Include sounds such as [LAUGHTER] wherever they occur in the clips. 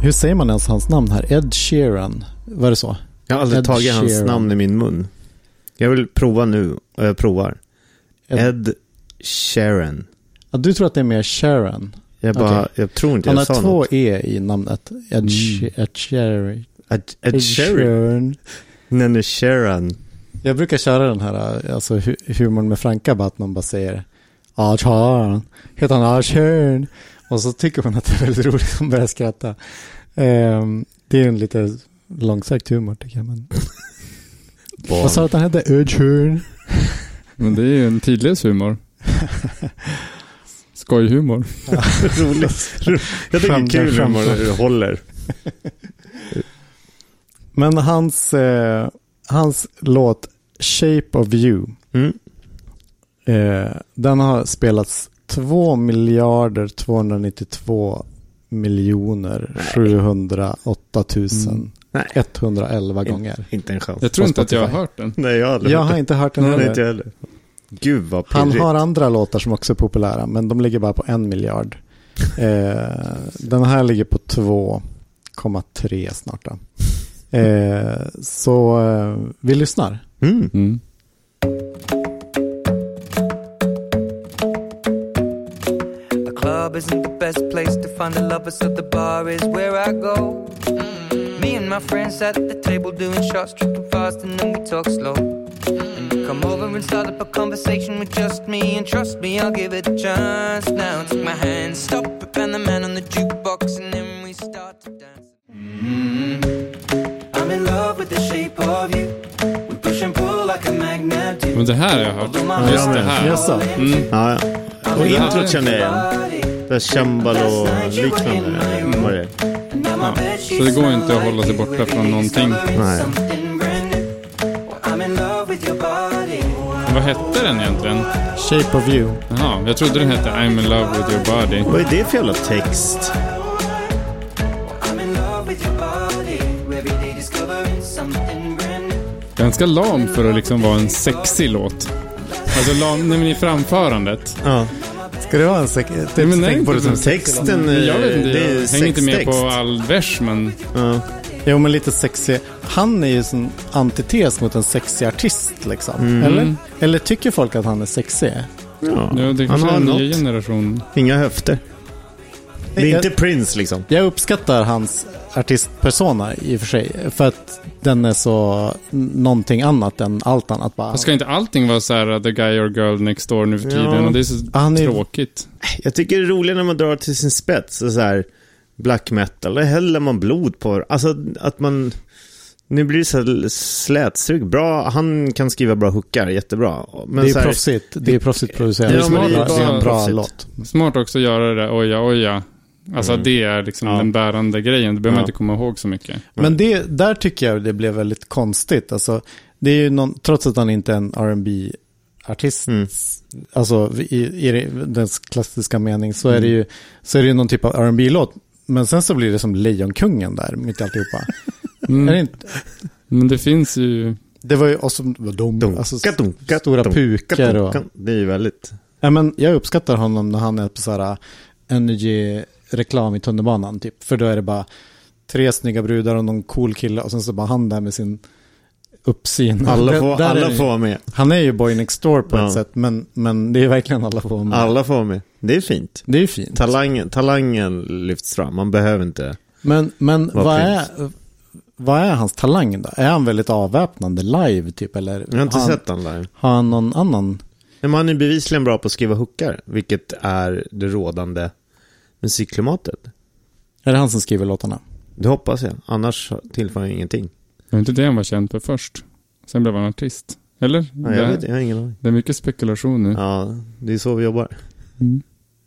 Hur säger man ens hans namn här? Ed Sheeran? Var det så? Jag har aldrig Ed tagit hans Sheeran. namn i min mun. Jag vill prova nu, och jag provar. Ed- Ed, Sheeran. Ja, du tror att det är mer Sharon? Jag, bara, jag tror inte Han jag sa har två något. E i namnet. Ed, mm. Ed, Sheer- Ed, Ed Sheeran. Nej, nej, Sheeran. Jag brukar köra den här alltså, hu- humorn med Franka, bara att man bara säger Ed Sheeran. Heter han Ed Sheeran? Och så tycker hon att det är väldigt roligt och börjar skratta. Ehm, det är ju en lite långsökt humor tycker jag. Men... Barn. Vad sa du att han hette? Ed Sheeran? Men det är ju en tidlös [LAUGHS] humor. Skojhumor. Roligt. [LAUGHS] Jag tycker det är Skämtar, kul skämtar. hur man håller. Men hans, eh, hans låt Shape of You Mm. Eh, den har spelats 2 miljarder 292 miljoner 708 Mm. 000 Nej. 111 gånger. Inte en chans. Jag tror inte att jag har hört den. Nej, jag har aldrig Jag hört har det. inte hört den Nej, inte heller. jag heller. Gud vad Han pirrigt. har andra låtar som också är populära, men de ligger bara på en [LAUGHS] miljard. Eh, den här ligger på 2,3 snart då. Eh, så eh, vi lyssnar. Mm. Mm. The club isn't the best place to find a lover, so the bar is where I go. Me and my friends sat at the table doing shots, tripping fast, and then we talk slow. And you come over and start up a conversation with just me, and trust me, I'll give it a chance. Now take my hand, stop it, and the man on the jukebox, and then we start to dance. Mm-hmm. I'm in love with the shape of you. We push and pull like a magnet. do. Men det här har jag hört. Just det här. Jaså? Ja, ja. Och det här- introt känner jag igen. Det är cembalo-liknande. eller vad det är. Ja. Så det går inte att hålla sig borta från någonting. Nej. Vad hette den egentligen? Shape of you. Jaha, jag trodde den hette I'm in love with your body. Vad är det för jävla text? Ganska lam för att liksom vara en sexig låt. Alltså lam, nej men i framförandet. Ja. Ska det vara en typ säker... Nej, men nej, tänk på det som inte- Texten, eh, Jag vet inte, det är jag hänger inte med på sextext. all vers men... Ja. Jo, men lite sexig. Han är ju som antites mot en sexig artist, liksom. Eller? Eller tycker folk att han är sexig? Ja. Ja, det Han kanske är har en ny något. generation. Inga höfter. Det är Jag- inte Prince liksom. Jag uppskattar hans artistpersona i och för sig, för att den är så n- någonting annat än allt annat. Bara, Och Ska inte allting vara så här the guy or girl next door nu för tiden? Ja. Och det är så Ah, Han är- tråkigt. Jag tycker det är roligare när man drar till sin spets. Så här, black metal, där häller man blod på Alltså att man... Nu blir det så här slätsug. Bra, han kan skriva bra hookar, jättebra. Men det är så här, proffsigt. Det är proffsigt producerat. Ja, det, är men det är bra- det är en bara bra proffsigt. låt. Smart också att göra det där oja oja. Alltså det är liksom Mm. Ja. den bärande grejen. Det behöver man Ja. inte komma ihåg så mycket. Men det, där tycker jag det blev väldigt konstigt. Alltså, det är ju någon, trots att han inte är en rb artist Mm. alltså i, i den klassiska mening, så är det ju så är det ju någon typ av rb låt Men sen så blir det som Lejonkungen där, mitt i alltihopa. Är det, Mm. inte, Men det finns ju... det var ju, och så, de, Dunk, alltså, dunk, stora dunk, pukor och... dunk. Det är ju väldigt... Ja, men jag uppskattar honom när han är på så här energy-reklam i tunnelbanan typ. För då är det bara tre snygga brudar och någon cool kille och sen så bara han där med sin uppsyn. Alla Där- får, där är alla det- får vara med. Han är ju boy next door på Ja. ett sätt, men, men det är verkligen alla får med. Alla får vara med. Det är fint. Det är ju fint. Talang, talangen lyfts fram. Man behöver inte... Men, men Vad vad, är, vad är hans talang då? Är han väldigt avväpnande live typ? Eller Jag har inte han, sett han live. har han någon annan? Nej, Men han är bevisligen bra på att skriva hookar, vilket är det rådande musikklimatet. Är det han som skriver låtarna? Det hoppas jag, annars tillför jag ingenting. Det var inte det han var känd för först. Sen blev han artist. Eller? Nej, jag, det, vet, jag har ingen aning. det är mycket spekulation nu. Ja, det är så vi jobbar. Mm.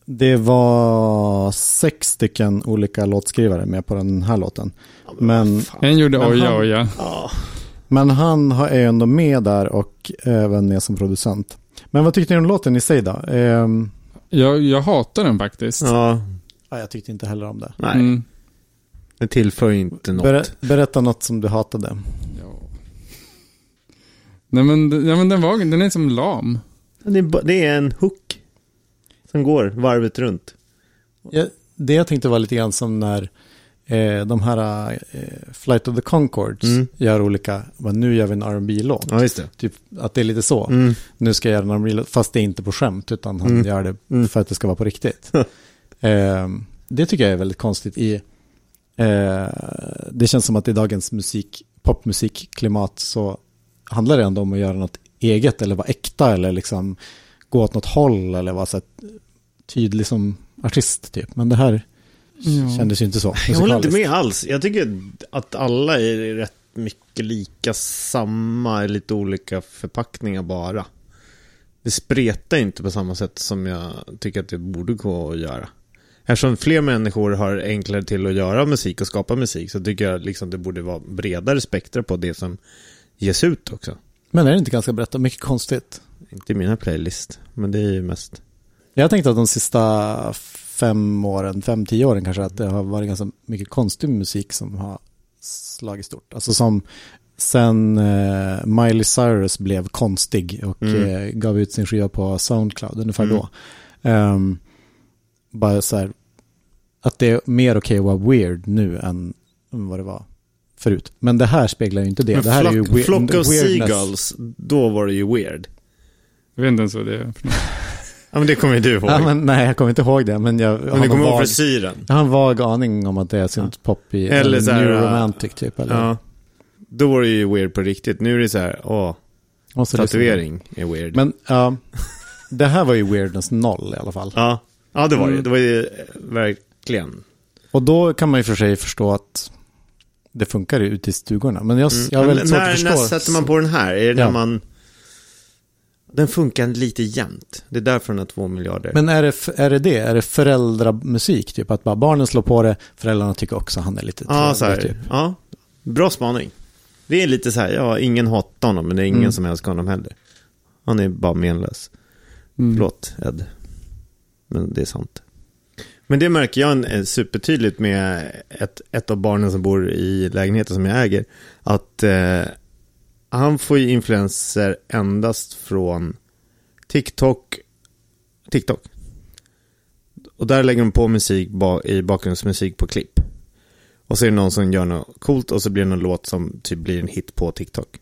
Det var sex stycken olika låtskrivare med på den här låten. Men, En gjorde Men oja han- oja. men han har- är ändå med där och även med som producent. Men vad tyckte ni om låten i sig då? Ehm, Jag, jag hatar den faktiskt. Ja, ja, jag tyckte inte heller om det. nej, Mm. det tillför ju inte något. Berä, berätta något som du hatade. Ja. Nej men, d- ja, men den, var, den är som lam. Det, är, ba- det är en hook som går varvet runt. Jag, det jag tänkte var lite grann som när eh, de här eh, Flight of the Concords Mm. gör olika, bara, nu gör vi en R&B-låt. Ja, just det. Typ att det är lite så. Mm. Nu ska jag göra en R&B-låt, fast det är inte på skämt, utan han Mm. gör det Mm. för att det ska vara på riktigt. [LAUGHS] eh, det tycker jag är väldigt konstigt i, eh, det känns som att i dagens musik, popmusikklimat så handlar det ändå om att göra något eget eller vara äkta eller liksom gå åt något håll eller vara så här tydlig som artist typ. Men det här kändes ju inte så. Jag håller inte musikaliskt. med alls. Jag tycker att alla är rätt mycket lika samma, i lite olika förpackningar bara. Det spretar inte på samma sätt som jag tycker att det borde gå att göra. Eftersom fler människor har enklare till att göra musik och skapa musik så tycker jag liksom det borde vara bredare spektra på det som ges ut också. Men är det inte ganska brett och mycket konstigt? Inte i mina playlist, men det är ju mest... Jag tänkte att de sista fem åren, fem, tio åren kanske, att det har varit ganska mycket konstig musik som har slagit stort. Alltså som sen eh, Miley Cyrus blev konstig och Mm. eh, gav ut sin skiva på Soundcloud, ungefär Mm. då. Ehm, bara så här, att det är mer okej att vara weird nu än vad det var förut. Men det här speglar ju inte det. Men det här är ju flock, we- flock of weirdness. Seagulls, då var det ju weird. Jag vet inte ens vad det är. för något. Ja, men det kommer ju du ihåg. Ja, men, nej, jag kommer inte ihåg det, men jag men har du kommer någon vag- ihåg frisyren. Jag har en vag aning om att det är syntpop i Eller eller så här, New uh, Romantic typ. Eller? Ja. Då var det ju weird på riktigt. Nu är det så här, åh, Måste lyssna. tatuering är weird. Men ja, [LAUGHS] det här var ju weirdness noll i alla fall. Ja. ja, det var det. Mm. Det var ju eh, verkligen. Och då kan man ju för sig förstå att det funkar ju ute i stugorna. Men jag, jag har Mm. Men väldigt svårt när, att förstå. när sätter man på den här? Är det Ja. när man... Den funkar lite jämnt. Det är därför den har två miljarder. Men är det, f- är det det? Är det föräldramusik? Typ att bara barnen slår på det, föräldrarna tycker också han är lite ja, så här. trevlig. Typ. ja, bra spaning. Det är lite så här, ja, ingen hatar honom, men det är ingen Mm. som älskar honom heller. Han är bara menlös. Mm. Förlåt, Ed. Men det är sant. Men det märker jag en- eh, supertydligt med ett, ett av barnen som bor i lägenheten som jag äger. Att eh, han får ju influenser endast från TikTok. TikTok. Och där lägger de på musik ba, i bakgrundsmusik på klipp. Och så är det någon som gör något coolt och så blir det någon låt som typ blir en hit på TikTok.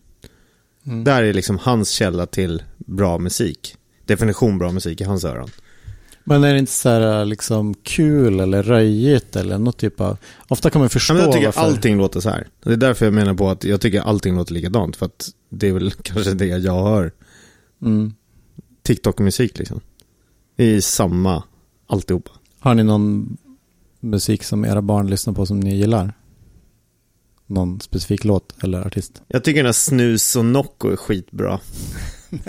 Mm. Där är liksom hans källa till bra musik. Definition bra musik i hans öron. Men är det inte så här liksom kul eller röjigt eller något typ av... Ofta kan man förstå Ja, men jag tycker varför. allting låter så här. Det är därför jag menar på att jag tycker allting låter likadant. För att det är väl [LAUGHS] kanske det jag hör. Mm. TikTok-musik liksom. Det är samma alltihopa. Har ni någon musik som era barn lyssnar på som ni gillar? Någon specifik låt eller artist? Jag tycker den här Snus och Nocco är skitbra. [LAUGHS]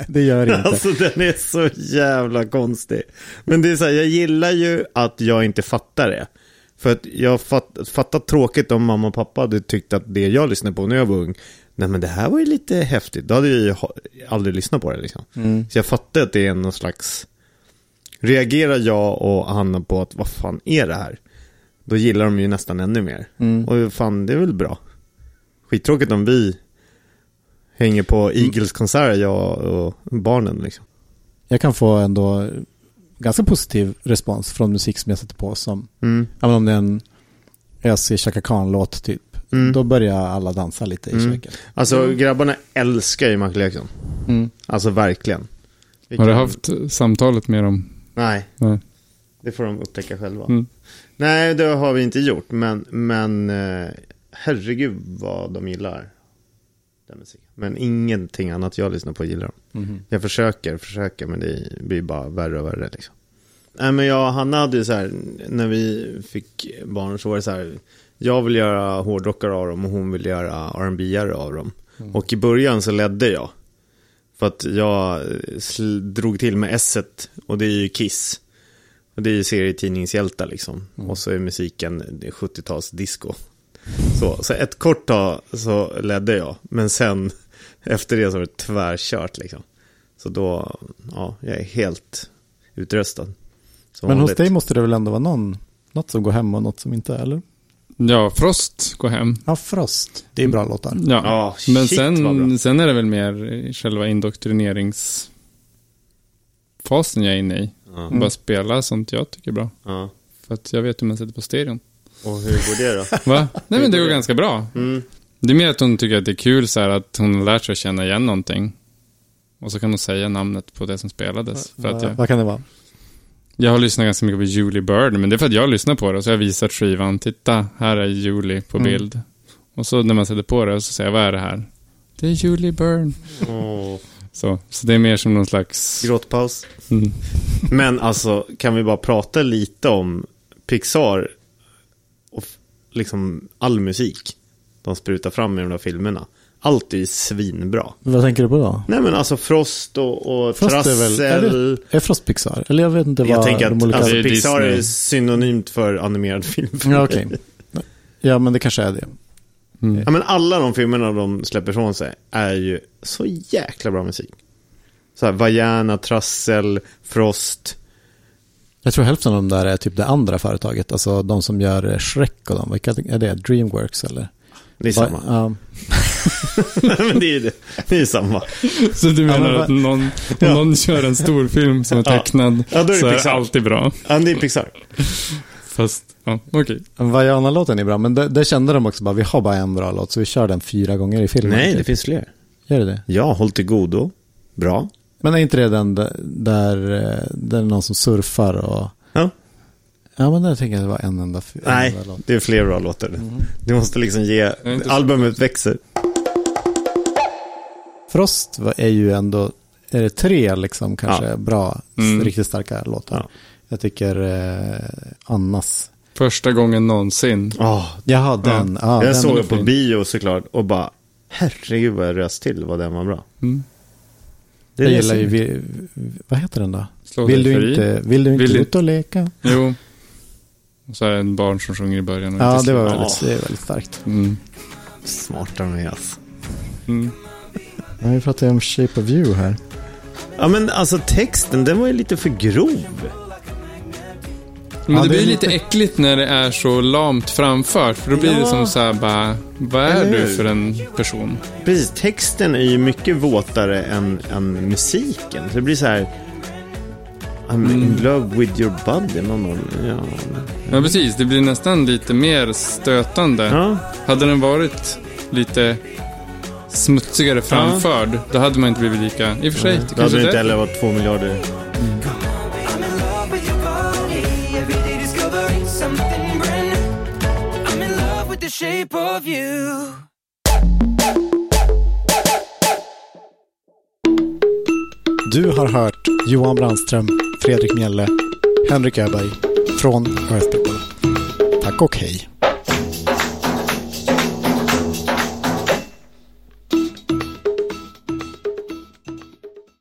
Det gör [LAUGHS] Alltså den är så jävla konstig. Men det är så här, jag gillar ju att jag inte fattar det. För att jag fatt, fattar tråkigt om mamma och pappa hade tyckt att det jag lyssnade på när jag var ung, nej men det här var ju lite häftigt. Då hade jag ju ha- aldrig lyssnat på det liksom. Mm. Så jag fattar att det är någon slags, reagerar jag och Hanna på att vad fan är det här? Då gillar de ju nästan ännu mer. Mm. Och fan, det är väl bra. Skittråkigt om vi hänger på Eagles konserter, jag och barnen liksom. Jag kan få ändå ganska positiv respons från musik som jag sätter på som, Mm. ja men om det är en Ösig Chaka Khan-låt typ, Mm. då börjar alla dansa lite i Mm. köket. Alltså grabbarna älskar ju Michael Jackson. Mm. Alltså verkligen. Har du Vilken- haft samtalet med dem? Nej, Nej. det får de upptäcka själva. Mm. Nej, det har vi inte gjort, men, men eh, herregud vad de gillar den musiken. Men ingenting annat jag lyssnar på gillar de. Mhm. Jag försöker, försöker, men det blir bara värre och värre liksom. Nej, men jag och Hanna hade ju så här, när vi fick barn så var det så här, jag vill göra hårdrockare av dem och hon vill göra rb av dem. Mm. Och i början så ledde jag. För att jag eh, sl- drog till med s och det är ju Kiss. Och det är ju serietidningshjältar liksom. Mm. Och så är musiken 70-tals disco. Så, så ett kort tag så ledde jag. Men sen [LAUGHS] efter det så var det tvärkört liksom. Så då, ja, jag är helt utröstad. Som Men hos vanligt. dig måste det väl ändå vara någon, något som går hem och något som inte, eller? Ja, Frost går hem. Ja, Frost. Det är bra låtar. Ja, Ja, men shit, vad bra. sen, sen är det väl mer i själva indoktrineringsfasen jag är inne i. Ja. Mm. Bara spela sånt jag tycker är bra. Ja. För att jag vet hur man sätter på stereon. Och hur går det [LAUGHS] då? [LAUGHS] Va? Nej, men det Mm. går ganska bra. Det är mer att hon tycker att det är kul så här att hon har lärt sig att känna igen någonting. Och så kan hon säga namnet på det som spelades. För att Vad- jag, Vad kan det vara? jag har lyssnat ganska mycket på Julie Bird, men det är för att jag lyssnar på det. Och så har jag visat skivan. Titta, här är Julie på Mm. bild. Och så när man sätter på det så säger jag, vad är det här? Det är Julie Bird. Åh, Så, så det är mer som någon slags... Gråtpaus. Mm. Men alltså, kan vi bara prata lite om Pixar och f- liksom all musik de sprutar fram i de där filmerna. Allt är ju svinbra. Vad tänker du på då? Nej men alltså Frost och, och Frost är väl... Är, Trassel. det, är Frost Pixar? Eller jag vet inte Jag vad tänker att de olika... alltså, Det är Pixar Disney. är synonymt för animerad film. ja, okej. Ja, men det kanske är det. Ja, men alla de filmerna de släpper från sig är ju så jäkla bra musik. Så här, Vajana, Trassel, Frost. Jag tror hälften av de där är typ det andra företaget. Alltså de som gör eh, Shrek och dem. Vilka är det? Dreamworks eller? Det är samma. Ja. men det är ju det. Det är ju samma. [LAUGHS] Så du menar Ja, men att någon, om någon kör en stor film som är Ja. tecknad Ja, då är det så är det Pixar. alltid bra. Ja, det är Pixar. Fast, ja, okej. Vajana-låten är bra, men det, det kände de också bara, vi har bara en bra låt, så vi kör den fyra gånger i filmen. Nej, typ. det finns fler. Gör det det? Ja, Håll till godo. Bra. Men är inte det den där, där, eh, där det är någon som surfar och... Ja. Ja, men där tänker jag att det var en enda, en Nej, enda låt. det är fler bra låtar. Du måste liksom ge... är inte så- Albumet växer. Frost var- är ju ändå, är det tre liksom kanske bra, Mm. riktigt starka låtar. Ja. Jag tycker eh, Annas. Första gången någonsin. Åh, Jaha, den. Ja. den jag såg är den på fin. bio såklart och bara, herregud vad jag rös till vad den var bra. Mm. Det Jag är liksom gillar så- ju, vi, vad heter den då? Slå Vill dig du, fri. inte, vill du inte Vill du- ut och leka? Jo. Och så är det en barn som sjunger i början. och Ja, inte det var slut. väldigt, det är väldigt starkt. Mm. Smarta med alltså. Mm. Men vi pratar ju om Shape of You här. Ja men alltså texten, den var ju lite för grov. Men Ja, det det är blir ju lite lite- äckligt när det är så lamt framfört. För då blir det Ja. som så här bara, vad är Eller du hur? för en person? Precis, texten är ju mycket våtare än, än musiken. Så det blir så här, I'm in love with your body. Man bara, ja. Ja, precis. Det blir nästan lite mer stötande. ja. Hade den varit lite smutsigare framförd, då hade man inte blivit lika... I och för sig, det Då hade kanske det är inte det. heller varit två miljarder. I'm in love with your body. Every day discovering something brand new. I'm in love with the shape of you. Du har hört Johan Brandström, Fredrik Mjelle, Henrik Öberg från Earth People. Tack och hej.